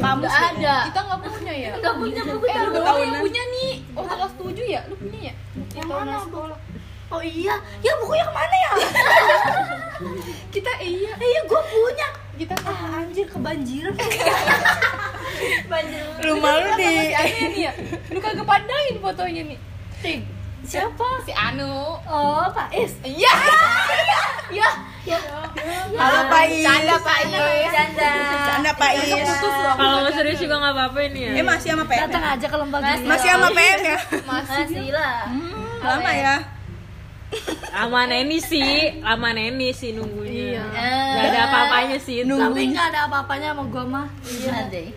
kamus Nggak ada. kita nggak punya ya Enggak punya buku eh lu tahunan. doang kan? yang punya nih waktu kelas tujuh ya lu punya ya Yang mana sekolah? Oh iya, ya bukunya kemana ya? kita iya Eh, Iya, gue punya. kita Ah, anjir kebanjiran. Banjir. Lu malu di si Anu nih ya lu kagak pandangin fotonya nih Ting. Siapa? si Anu Oh, Pak Is. iya iya Halo Pak Is. Canda Pak Iya, Is Bercanda. Canda Pak Is. putus loh Kalau mau serius juga nggak apa-apa ini ya. Eh masih sama PM. Datang aja ke lembaga. ya? Masih Iya. sama PM ya? Masih lah. Lama ya. Lama Neni sih, lama Neni sih nunggunya. Eh, Gak ada apa-apanya sih itu. Tapi nggak ada apa-apanya sama gua mah. Iya deh.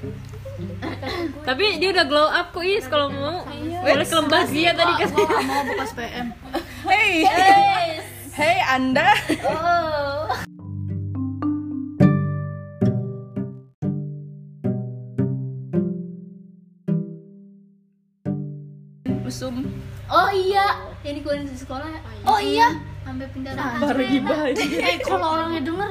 Tapi dia udah glow up kok Is kalau mau. Boleh ke lembaga tadi kan. Gue gak mau bekas PM Hey. Hey Anda. Oh. Mesum. Oh iya, yang dikeluarin dari sekolah. Oh iya, sampai pindah Baru dibahas. Eh, kalau orangnya denger,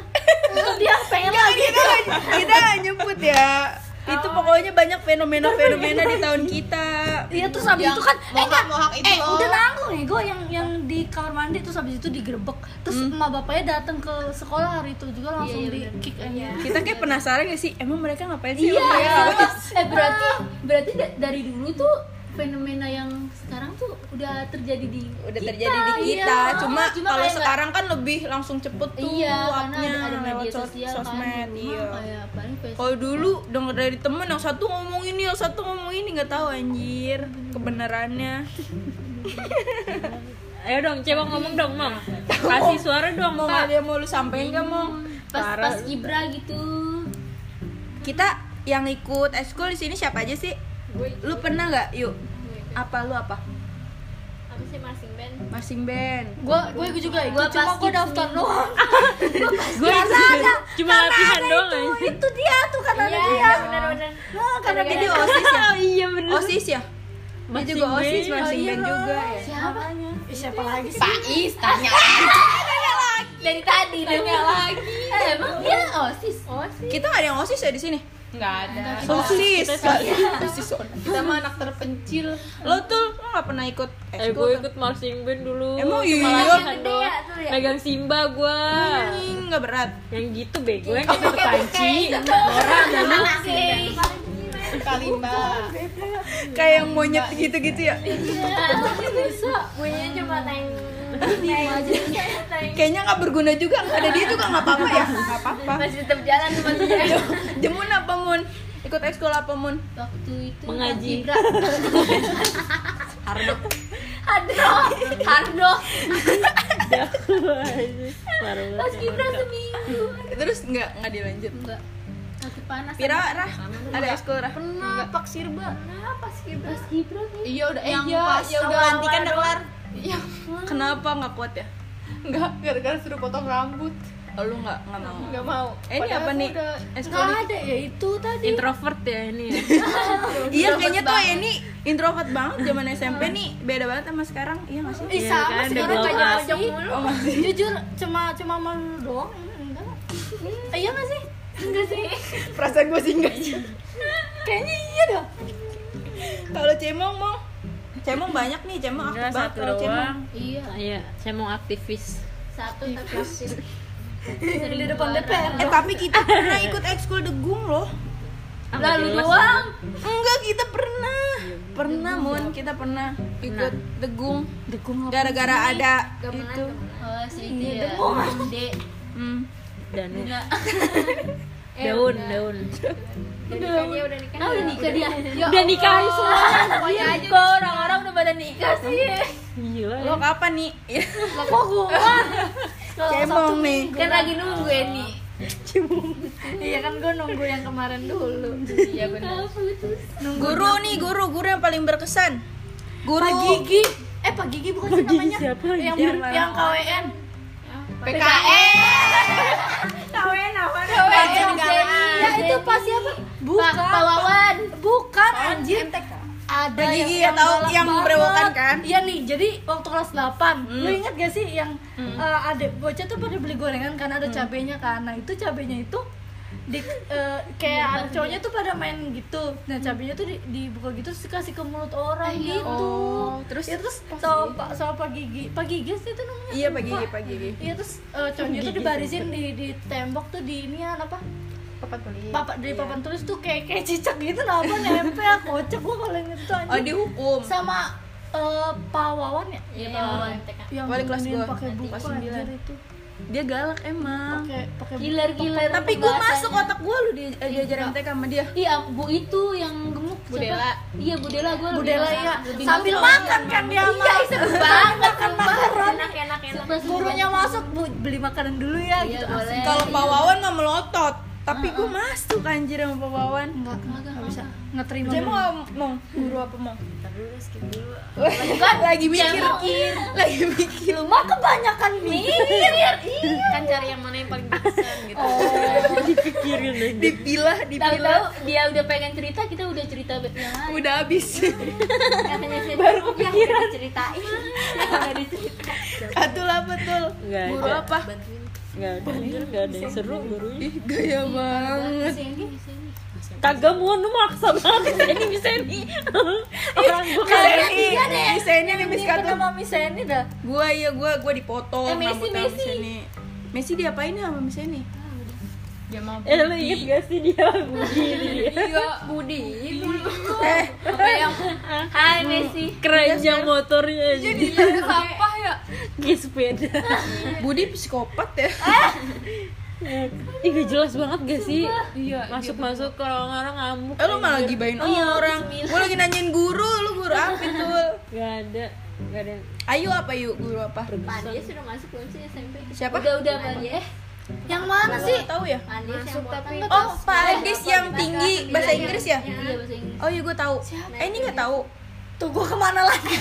dia pengen lagi. Kita nggak- kita nggak nyebut ya. Itu Oh. pokoknya banyak fenomena-fenomena di tahun kita. Iya terus habis itu kan mohak eh enggak, mohak itu eh loh udah nanggung nih gue yang yang di kamar mandi terus habis itu digerebek terus emak bapaknya datang ke sekolah hari itu Iya, juga langsung di kick aja Iya. Kita kayak penasaran gak sih? Emang mereka ngapain sih? Iya, sama ya? sama. eh berarti Ah. berarti da- dari dulu tuh fenomena yang sekarang tuh udah terjadi di Udah terjadi di iya. kita. Cuma, Cuma kalau kayak sekarang kan lebih langsung cepet tuh iya karena uapnya ada, ada lewat media sos- sosial kan sosmed. Cuma Iya. kayak paling Facebook Kalau dulu denger dari temen yang satu ngomong ini, yang satu ngomong ini nggak tahu anjir kebenarannya. Ayo dong, coba ngomong dong, Mam. Kasih suara dong, Mau Kak. ada yang mau lu sampein gak mau? pas pas kibra gitu Kita yang ikut eskul di sini siapa aja sih? Lu pernah nggak? Yuk. Apa lu apa? Apa sih marching band? Marching band. gue gue juga Gua ikut cuma pas gue gigs daftar minggu. doang Gue cuma latihan doang. itu, itu dia tuh Iya, karena ada dia Nah, Karena Oh, dia di osis ya. Oh iya bener. Osis ya. Dia juga osis marching band juga ya. siapa Ih, siapa lagi sih? Pak Is tanya dari tadi tanya lagi eh, emang dia osis Kita nggak ada yang osis ya di sini. nggak ada Osis. Osis. kita mah anak terpencil Lo tuh lo nggak pernah ikut eskul? Eh gue kan? ikut marching band dulu. Emang Cuma iya? latihan Gede doang. ya tuh ya? Megang simba gue. Hmm, Nggak berat. Yang gitu bego yang kita terpanci. Orang dulu. kalimba Kayak yang monyet gitu-gitu ya. bunyinya cuma teng Kayaknya nggak berguna juga. Nggak ada dia juga nggak apa-apa ya. Nggak apa-apa. masih tetap jalan tuh masih jalan Jemun apa mun? Ikut ekskul apa mun? waktu itu Mengaji. pas kibra Hardo Hardo Parah banget. pas kibra seminggu Terus nggak nggak dilanjut. enggak aku panas Pira Rah, ada ekskul Rah. pernah pak sirba pas kibra pas kibra nih iya udah Yang iya, pas ya udah awal-awal lantikan udah doang. kelar iya Kenapa nggak kuat ya? nggak gara-gara suruh potong rambut Oh, lu nggak nggak mau. nggak mau Eh, ini Padahal apa aku nih? udah- Ekskul. nggak ada ya itu tadi Introvert ya ini. ya. Iya, kayaknya tuh ini introvert banget zaman Iya. SMP nih. Beda banget sama sekarang. Iya nggak sih? Ih, Iya, sama kan, sekarang udah kayak bawa ojek mulu. Jujur cuma cuma malu doang. Enggak. Eh, Iya enggak sih? Enggak sih. Perasaan gue sih nggak sih. Kayaknya iya dah. Kalau Cemong mau Cemong banyak nih, Cemong aktif Udah banget satu kalau Cemong. doang. iya Iya, saya mau aktivis. satu tapi osis Dari di depan DPR. Eh, tapi kita pernah ikut ekskul degung loh. Ah, Lalu doang. Enggak, kita pernah. Iya, Pernah, Mun. Kita pernah ikut degung. Degung Gara-gara ada Gitu. itu. oh Iya, itu ya gede Hmm. Dan daun, daun. nah udah nikah dia Iya. ya Udah nikah semua. pokoknya aja kok orang-orang udah pada nikah sih Iya. Gila. Lo kapan nih? Lah kok gua? Cemong nih. Kan lagi nunggu ya nih. Iya kan gua nunggu yang kemarin dulu. iya benar Guru nih, guru, guru yang paling berkesan. Guru Pak Gigi. Eh Pak Gigi Iya, bukan sih namanya? Siapa? Yang Yang ber- yang KWN. PKN KWN. Ya itu Pak siapa? Bukan. Pak Wawan. Bukan anjir. Ada Pak Gigi ya yang- tahu, galak yang banget. berewokan kan? Hmm. Iya nih, jadi waktu kelas 8 Lu inget gak sih Hmm. yang eh, adek bocah tuh pada beli gorengan karena ada kan? cabenya kan Nah itu cabenya itu di- eh, kayak Iya, anak cowoknya tuh pada main gitu nah Hmm. cabenya tuh di, dibuka gitu terus dikasih ke mulut orang gitu Oh, terus ya terus sama pak sama pak gigi pak gigi sih itu namanya Iya, Pak Gigi, Lupa. Pak Gigi. iya terus eh, cowoknya tuh dibarisin di di tembok tuh di ini apa papan Iya. tulis. papan dari papan tulis tuh kayak kayak cicak gitu apa nempel kocak gua kalau inget tuh Oh, anjing dihukum. sama eh, Pak Wawan ya Iya, Pak Wawan, TK. yang Wali kelas nemenin gua, pakai kelas buku sembilan. anjir itu Dia galak emang. pakai pakai buku. Giler-giler Tapi gue pembahasannya. masuk otak gue lu di, eh, diajarin TK sama dia. Iya, Bu itu yang gemuk siapa? Budela. Iya, Budela iya. gue Budela ya sambil makan kan dia iya banget kan Iya, Enak enak enak. gurunya masuk bu beli makanan dulu ya Iya, gitu boleh. Kalau Pak Wawan mah melotot. Tapi gue masuk anjir sama Pak Wawan. enggak enggak bisa enggak terima Dia dulu. mau mau guru apa mau? Ntar dulu skip dulu. lagi mikir. Lagi mikir. lu mah kebanyakan mikir Kan cari yang mana yang paling berkesan gitu. Oh, dipikirin aja Dipilah, dipilah. Tahu-tahu dia udah pengen cerita, kita udah cerita yang lain. Udah habis. Katanya saya Iya. baru kepikiran Iya. ceritain. Atul apa tul? Nggak Guru ada. apa? nggak ada nggak ada yang seru gurunya Ih, gaya banget. kagak mau lu maksa banget ini bisa ini orang gua kayak Seni, iya ini Seni nih Miss Katul. mami Seni dah Gua iya gua gua dipotong Eh, Messi, rambutnya sama Messi. Seni. Messi diapain ya sama Miss Seni? eh lu inget gak sih dia begini Iya, Budi itu. Eh, Hai Messi. keranjang motornya aja Iya, sampah ya. kayak sepeda Iya. Budi psikopat ya. Ah, Ih, gak jelas banget gak sih Iya, masuk masuk ke orang-orang ngamuk Eh, lu iya. malah gibain Oh, orang. Gua lagi nanyain guru, lu guru apa tul? nggak ada nggak ada yang Ayu apa yuk guru apa? Pandia sudah masuk belum sih SMP? Siapa? Udah udah Pandia. yang mana sih Tahu ya? Pandia yang tapi Oh, Pak Andis yang tinggi bahasa Inggris ya? Iya bahasa Inggris. Oh iya gue tahu. Eh ini nggak tahu. tuh gua kemana lagi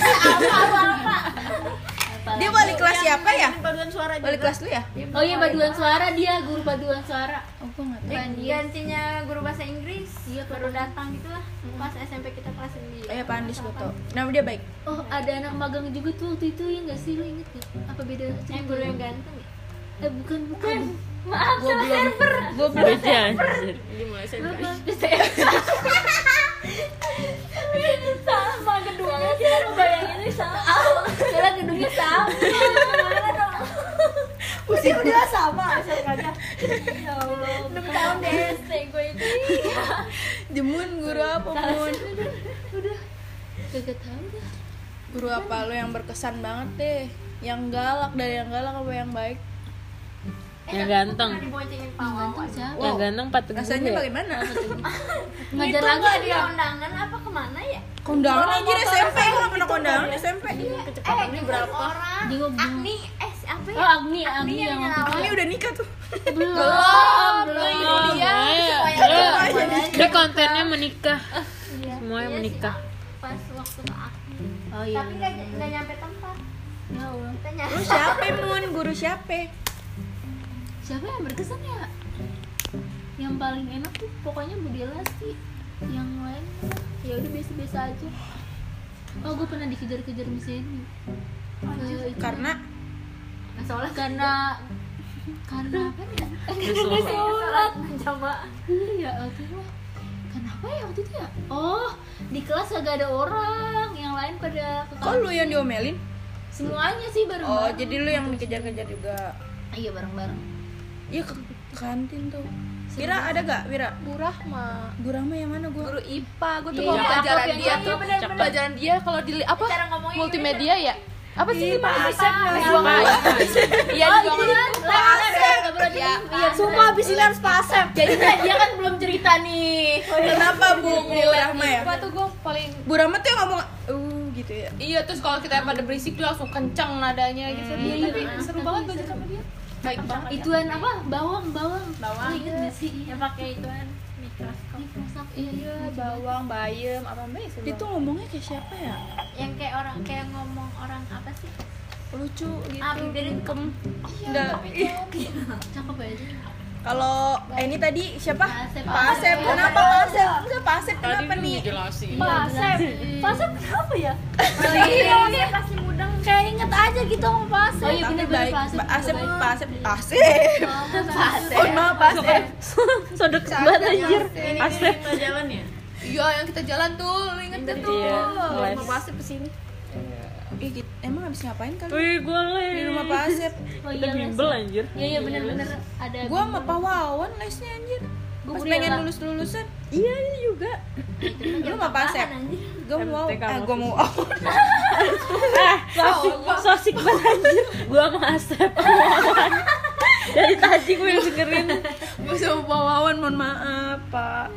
Dia wali kelas siapa ya? paduan suara Wali kelas lu ya? Oh iya paduan suara dia guru paduan suara. Oh gue nggak Eh, tahu. gantinya guru bahasa Inggris Iya baru datang gitu lah pas SMP kita kelas 9 Eh Pak Andis gue tahu. Nama dia baik. Oh ada anak magang juga tuh waktu itu ya nggak sih lu inget gak? Apa beda cerita? Yang guru yang ganteng ya? Eh bukan bukan. Maaf Gue belum. Gue belum. Bocah, anjir Eh, sama gedungnya kita ngebayangin ini sama. Karena Ah, gedungnya sama. Gimana dong? udah udah sama asalkannya Ya Allah. 6 tahun deh gue Eh, itu. Jemun guru apa mun? Gak tahu dah. Guru apa lu yang berkesan banget deh? Yang galak dari yang galak apa yang baik? yang ganteng diboncengin pawang Untung siapa? yang ganteng pat teguh Rasanya ya? bagaimana? Ngajar lagi tadi dia. kondangan apa kemana ya? Kondangan anjir SMP, gue gak pernah kondangan SMP kecepatannya berapa Eh, Orang. Agni eh apa ya? oh Agni Agni yang Ini udah nikah tuh belum. Oh, Maya. Belum. dia kontennya menikah semuanya Iya sih, menikah Pas waktu ke Agni. oh iya tapi nggak nggak nyampe tempat Ya Allah. Kita nyari. Lu siapa Mun? Guru siapa? siapa yang berkesan ya yang paling enak tuh pokoknya Budela sih yang lain mah ya udah biasa-biasa aja oh gue pernah dikejar-kejar Miss Yeni Oh, Eh, itu- Karena Nah, soalnya karena karena apa ya Terus lu- sholat jamaah iya waktu itu mah. kenapa ya waktu itu ya oh di kelas agak ada orang yang lain pada ke Kok lu yang diomelin? semuanya sih bareng Oh jadi lu yang dikejar-kejar juga iya bareng-bareng Iya ke ke kantin tuh Wira ada gak Wira? Bu Rahma. Bu Rahma yang mana gua? Guru IPA, gue tuh Iya, kalau iya, pelajaran cakep, dia cakep, tuh pelajaran dia kalau di apa multimedia ya apa sih bahasa iya di bawah Oh, Iya, sumpah abis ini harus pasem Jadinya dia kan belum cerita nih. Kenapa Bu, Bu Rahma ya? IPA gitu. tuh gue paling Bu Rahma tuh yang ngomong Uh gitu ya iya terus kalau kita pada berisik dia langsung kencang nadanya gitu Dia- iya, tapi iya. seru Tapi banget belajar seru. sama dia baik banget Ituan apa? Bawang, bawang. Bawang. Lu Ingat gak sih? Yang pakai ituan mikroskop ini krusak. iya bawang bayam apa ya mbak seru Itu ngomongnya kayak siapa ya? yang kayak orang kayak ngomong orang apa sih Lucu gitu ah bibirnya kem Nggak. Cakep ya dia. Iya. Kalau eh, ini tadi siapa? Pak Asep. Pak Asep. Kenapa Pak Asep? Enggak Pak Asep kenapa nih? pasem pasem kenapa ya Iya. pasem pasti mudeng kayak inget aja gitu sama Pak Asep. Oh iya Tapi bener-bener baik. Pak Asep. Pak Asep, Pak Asep, Asep. Oh, iya. maaf, Pak Asep. so deket banget anjir Asep Iya, yang kita jalan tuh, lu inget gak tuh? Iya, les. Ih, git- emang habis ngapain kali? Wih, gue les Di rumah Pak Asep. Oh Kita iya Les. bimbel anjir Iya iya bener-bener ada Gua sama Pak Wawan lesnya anjir. Gua Pas kuliah pengen lah. lulus-lulusan. Iya, iya juga Lu sama Pak Asep. Gua mau, MTK eh gua mau. Sosik, sosik banget anjir Gue sama Asep Wawan. Dari tadi gue yang dengerin Gua sama Pak Wawan, mohon maaf, Pak.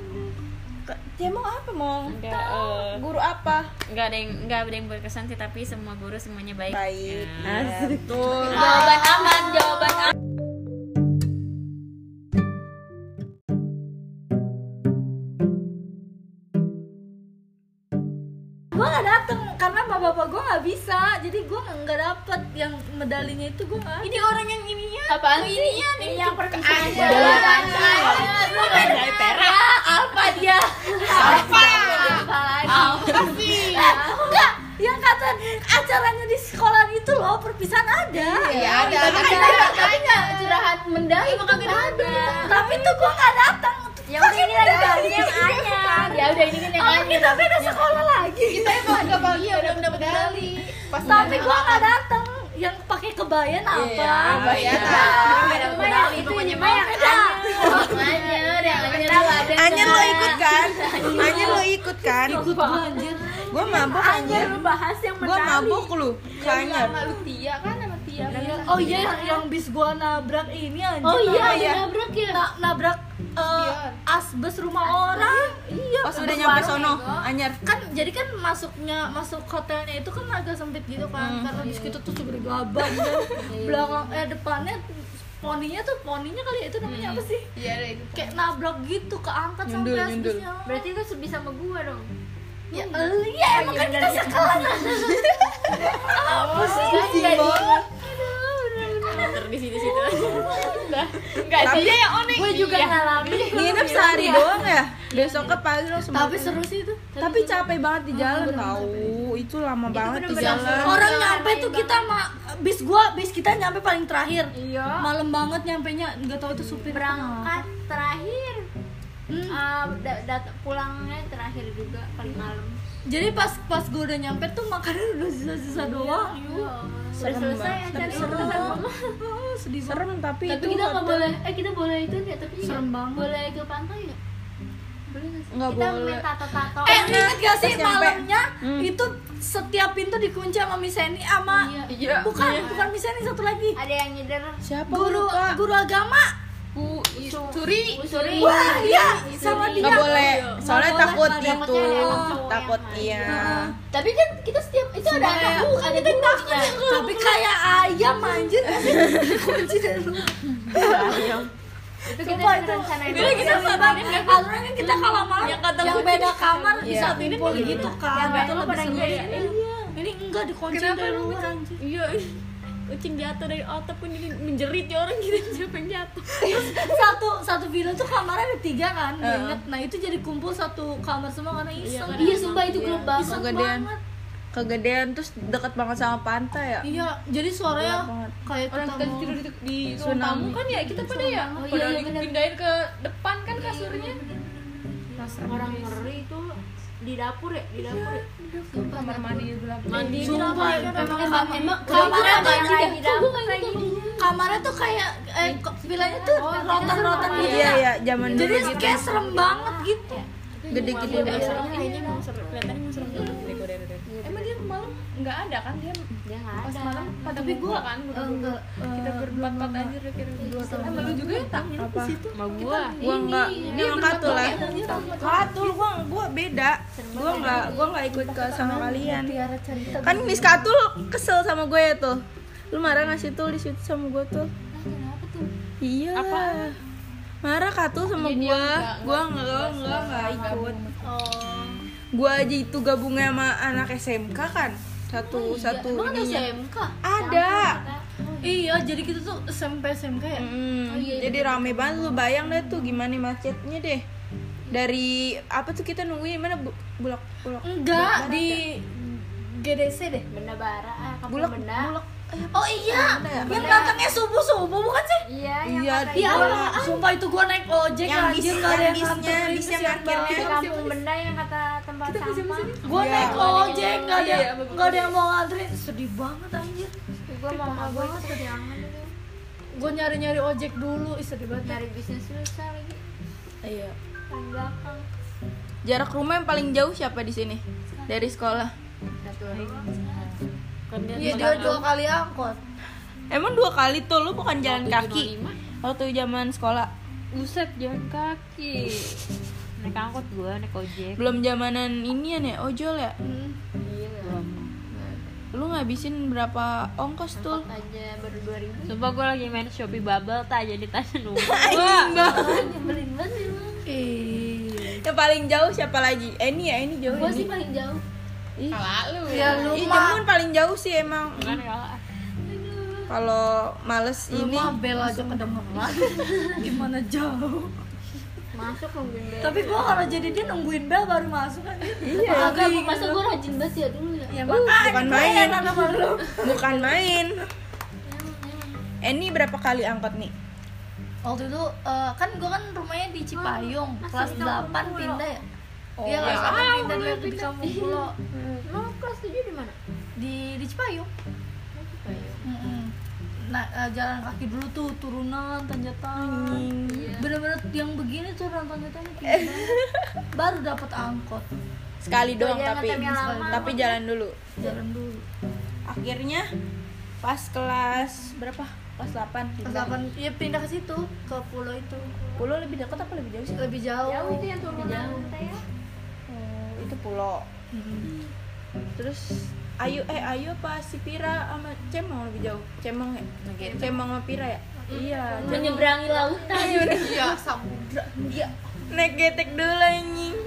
Ke- Dia mau apa, Mong? Enggak, eh, Guru apa? nggak ada yang nggak ada yang berkesan sih tapi semua guru semuanya baik Baik. Iya. Asik. Betul. jawaban aman, jawaban aman. Gue gak dateng karena bapak-bapak gue gak bisa. Jadi gue gak dapet yang medalinya itu gue gak. Ini orang yang ininya. Oh, Apaan sih? yang perpisahan. Jalan dari perak apa dia? Apa? Apa lagi? Enggak, yang kata acaranya di sekolah itu loh perpisahan ada. Iya, ada, tapi Tapi nggak curahan mendadak. Emang kagak ada. Iya, Tapi tuh gua nggak datang. ya udah ini lagi baru yang Anya Ya udah ini kan yang Kalau kita beda sekolah lagi. Iya, kita emang agak bahagia udah dapat medali. Pas Tapi gua nggak datang. Yang pakai kebaya apa? Iya. bayar. Cuma yang itu yang beda. Makanya udah menyerah ada. Anya lo ikut kan? Anya lo ikut kan? Ikut gua anjir. Gua mabok anjir. Lu bahas yang Gua medali. mabok lu. Kanya. Sama lu Tia kan sama Tia. Oh iya yang, yang bis gua nabrak ini anjir. Oh iya, Iya. ada nabrak ya. Na- nabrak eh, asbes rumah orang. Iya. Pas udah asbes nyampe warung. sono, Anyer. kan jadi kan masuknya masuk hotelnya itu kan agak sempit gitu kan karena bis itu tuh segede gabang dan belakang eh depannya poninya tuh poninya kali ya itu namanya apa sih Iya, ada itu. kayak nabrak gitu keangkat Nyundul, sampai nyundul. asbesnya Berarti itu sebisa sama gua dong. ya eh, iya emang kan kita sekelas Ter di situ situ gue juga Iya. ngalamin Nginep sehari doang ya? Besok ke pagi langsung tapi balik. seru sih itu Tapi capek banget di jalan tahu. Itu lama banget di jalan. orang nyampe tuh kita ma- bis gua bis kita nyampe paling terakhir iya malam banget nyampe nya nggak tahu itu supir Berangkat terakhir. Hmm. Ah, da- dat- pulangnya terakhir juga paling malam. jadi pas pas gue udah nyampe tuh makanan udah sisa-sisa doang Iya. Udah selesai Iya. acara Tapi seru. Oh, sedih serem tapi itu Tapi kita nggak hotel. boleh, eh kita boleh itu nggak? Tapi Serem nggak banget. Boleh ke pantai nggak? Boleh nggak sih? Nggak Kita boleh. main tato-tato. Eh, lu inget gak sih Pas nyampe. malamnya Hmm. itu setiap pintu dikunci sama Miseni sama Iya. bukan bukan Miseni satu lagi Ada yang nyeder. Siapa guru lupa? guru agama Suri. Usuri. wah iya sama dia Nggak boleh. Soalnya Nggak takut boleh, itu. takutnya ada orang cowok Takut yang main. iya. Tapi kan kita setiap itu ada anak bukan kita takutnya. tapi kayak ayam anjir dikunci dari luar Itu kita Sumpah itu rencana Bila kita sabar Alurnya kan kita kalau malam Yang beda kamar bisa Iya. kan. kumpul gitu kan Yang Itu beda lebih pada seru iya, Iya. Ini enggak dikunci dari luar anjir iya kucing jatuh dari otak pun jadi menjerit ya orang gitu siapa yang jatuh satu satu villa tuh kamarnya ada tiga kan gue inget nah itu jadi kumpul satu kamar semua karena iseng Iya sumpah itu gelap banget. Kegedean. Kegedean terus deket banget sama pantai ya. iya jadi suaranya Gelap banget. kayak Orang kita kita mau tidur di, di ruang Tsunami. tamu kan ya kita pada ya Oh, iya, pada iya, bener. dipindahin ke depan kan kasurnya. Orang ngeri itu di dapur ya di dapur. ya? Sumpah, Kamar mandi gelap. Mandi. Sumpah, emang emang emang Kamarnya kamarnya kayak kayak di gini dah. dapur kayak gini. kamarnya tuh kayak eh kok- villanya tuh rotan-rotan gitu Iya ya iya zaman dulu jadi gitu. kayak serem banget gitu Gede-gede banget. kayaknya emang seru kelihatannya emang seru banget deh gue dari Emang dia malam nggak ada kan dia Dia nggak pas ada. malam pada tapi gua kan gua enggak kita berempat-empat aja udah kira Emang lu juga ya tak Apa? Sama gua Gua enggak. Dia yang katul lah. Katul gua gua beda. Gua enggak gua enggak ikut ke sama kalian. tiara cerita Kan Miss Katul kesel sama gue tuh. Lu marah nggak sih tuh di situ sama gue tuh? Kenapa tuh? Iya. Apa? Marah Katul sama gue. Gua enggak gua enggak enggak ikut. Oh. Gua aja itu gabungnya sama anak SMK kan. Satu satu Emang ada ininya. SMK? Ada. iya jadi kita tuh SMP SMK ya Mm, jadi rame banget lu bayang deh tuh gimana macetnya deh. Dari apa tuh kita nungguin mana Bu- bulak bulak enggak di GDC deh Ah. Benda bara. Bulak, ah, benda. bulak. Oh iya, yang datangnya subuh subuh bukan sih? Iya, yang Iya, katanya Iya, bulak. sumpah itu gua naik ojek Yang anjir bis- nggak ada yang yang bisnya, nganter, bis itu yang sian akhirnya. di banget. kampung benda yang kata tempat sampah. Gua Iya. naik ojek nggak ada nggak ada yang mau nganterin, sedih banget anjir. Gue mama gue itu diangan itu. Gua nyari nyari ojek dulu, ih sedih banget. Dari bisnis susah lagi. Iya. Paling belakang. Jarak rumah yang paling jauh siapa di sini? Dari sekolah. Satu rumah. Iya dia dua kali angkot. Emang dua kali tuh lu bukan jalan kaki. Waktu zaman sekolah. Buset, jalan kaki. Naik angkot gua, naik ojek. Belum zamanan ini ya, ojol ya? Lu ngabisin berapa ongkos tuh? Aja baru 2000. Sumpah gua lagi main Shopee Bubble tak jadi tas nunggu. Iya, Yang paling jauh siapa lagi? Eni ya, Eni jauh. gue Eni. sih paling jauh Ya lu Ih, mah Jemun paling jauh sih emang. Kan ya. Kalau males lu ini mah bel aja kedengeran. Gimana jauh? Masuk nungguin bel. Tapi gua kalau jadi dia nungguin bel baru masuk kan. iya, masa gue rajin banget ya dulu ya Ya Uh, makanya bukan main. Bukan main. Eni berapa kali angkot nih? waktu itu eh, kan gue kan rumahnya di Cipayung kelas 8 pindah ya Iya, kelas 8 pindah dari di kampung pulau Lo Hmm. kelas 7 di mana? di di Cipayung. Oh, Mm-mm. Nah, eh, jalan kaki dulu tuh turunan tanjakan. Bener-bener yang begini turunan tanjakan tinggi banget. Baru dapat angkot Sekali doang jangan tapi ngetem yang lama. tapi jalan dulu. jalan dulu. Akhirnya pas kelas berapa? Kelas 8. Kelas 8 ya pindah ke situ ke pulau itu. Pulau lebih dekat apa lebih jauh sih? Lebih jauh. Jauh itu yang turun lantai ya. Oh, itu pulau. Terus Ayu eh Ayu apa si Pira sama Cemong lebih jauh? Cemong ya? Cemong sama Pira ya? Iya, menyeberangi lautan naik getek dulu anjing.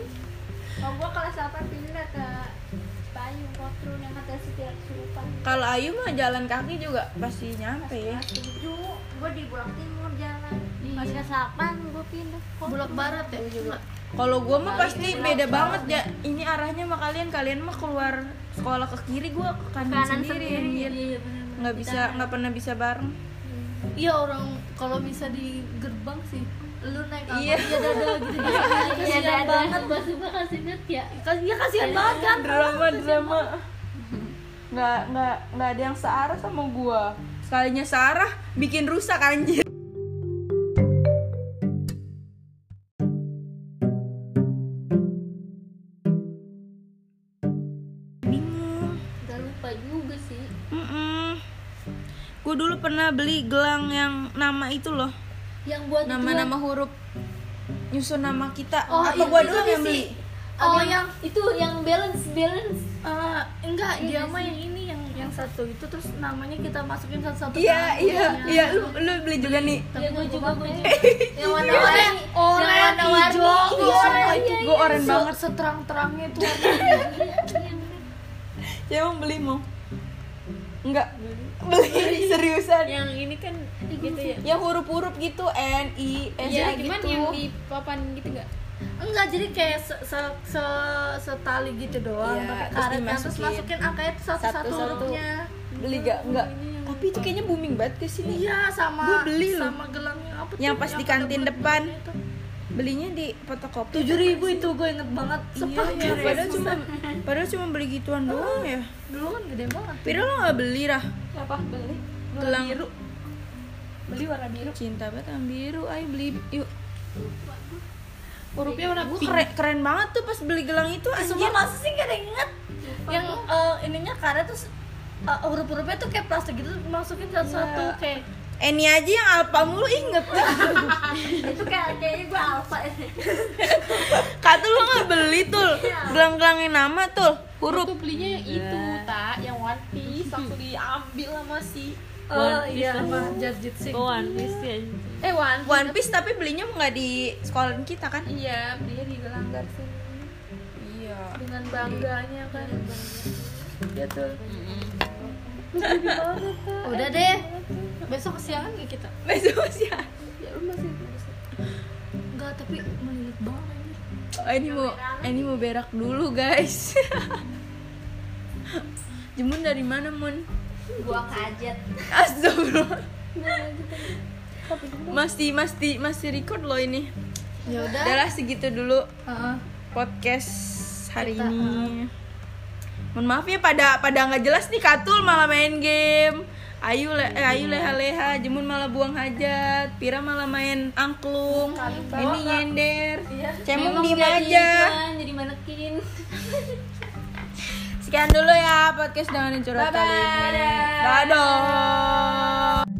Oh, gue kelas 8 pindah ke Payung Kotrun yang kata setiap surupan. Kalau Ayu mah jalan kaki juga pasti nyampe ya. Kelas 7 gue di Bulak Timur jalan. Pas kelas 8 gue pindah ke Kotrun. Bulak Barat ya. Kalau gua mah pasti beda banget ya. Ini arahnya sama kalian, kalian mah keluar sekolah ke kiri, gua ke kanan, Kanan sendiri. sendiri. Iya, anjir. Nggak bisa, nggak pernah bisa bareng. Iya orang kalau bisa di gerbang sih lu naik angkot Iya. ya dada gitu kasihan banget gue suka kasih net ya Kas- ya kasihan banget kan Drama, drama. Nggak, nggak, nggak ada yang searah sama gua. Sekalinya searah, bikin rusak anjir. Bingung. gak lupa juga sih Mm-mm. Gue dulu pernah beli gelang yang nama itu loh, yang Nah, buat nama-nama huruf nyusun nama kita. Oh, Apa iya, gua itu dulu yang beli? oh yang itu yang balance balance Eh, enggak dia mah yang ini yang yang satu itu terus namanya kita masukin satu-satu kan? Iya, nama. iya, iya. Lu, lu beli juga nih. ya gue juga gue Yang warna-warni. Oranye, hijau, Iya, sumpah itu gue oren banget. banget seterang-terangnya itu Ya emang beli mau? Enggak. Beli seriusan. Yang ini kan Iya, gitu ya. Yang huruf-huruf gitu N I S Iya, Ya, gitu. cuman yang di papan gitu enggak? enggak jadi kayak se, se, se setali gitu doang Iya, pakai terus karetnya terus dimasukin. masukin angkanya itu satu-satu Satu-satu. hurufnya Beli gak? Enggak. Tapi itu kayaknya booming banget ke sini. iya sama Gua beli loh. sama gelangnya apa tuh, Yang pas di pada kantin bulat depan. itu. Belinya di fotokopi. tujuh ribu itu gue inget banget sepatu Iya, padahal cuma padahal cuma beli gituan doang ya. dulu kan gede banget Pira lo gak beli Rah? apa beli Gelang beli warna biru Cinta banget sama biru, ayo beli yuk Hurufnya warna Gue keren, keren banget tuh pas beli gelang itu semua anjir masa sih gak ada yang inget yang eh, ininya karet terus eh, huruf-hurufnya tuh kayak plastik gitu masukin satu-satu kayak Eni aja yang alpa mulu inget Itu kayak kayaknya gue alfa. ya. Kak tuh lo gak beli tuh Gelang-gelang yang nama tuh Huruf belinya yang Iya. itu tak yang one piece waktu diambil sama si eh iya apa jadjit sih Gua One Piece ya. eh one One Piece tapi belinya nggak di sekolah kita kan iya belinya di gelanggar sini Iya dengan bangganya Iya, kan udah deh besok kesiangan gak kita Besok siapa? enggak tapi melilit banget anjir. Oh, ini mau ini mau berak dulu guys Jemun dari mana Mun? gua kajet Astagfirullah. Masih masih masih record loh ini. ya udah Udahlah segitu dulu Heeh. podcast hari ini. Mohon maaf ya pada pada nggak jelas nih Katul malah main game. Ayu le, eh, Ayu leha-leha, Jemun malah buang hajat, Pira malah main angklung, ini nyender, Cemung diem aja. jadi manekin Sekian dulu ya podcast dengan curhat kali ini. Dadah.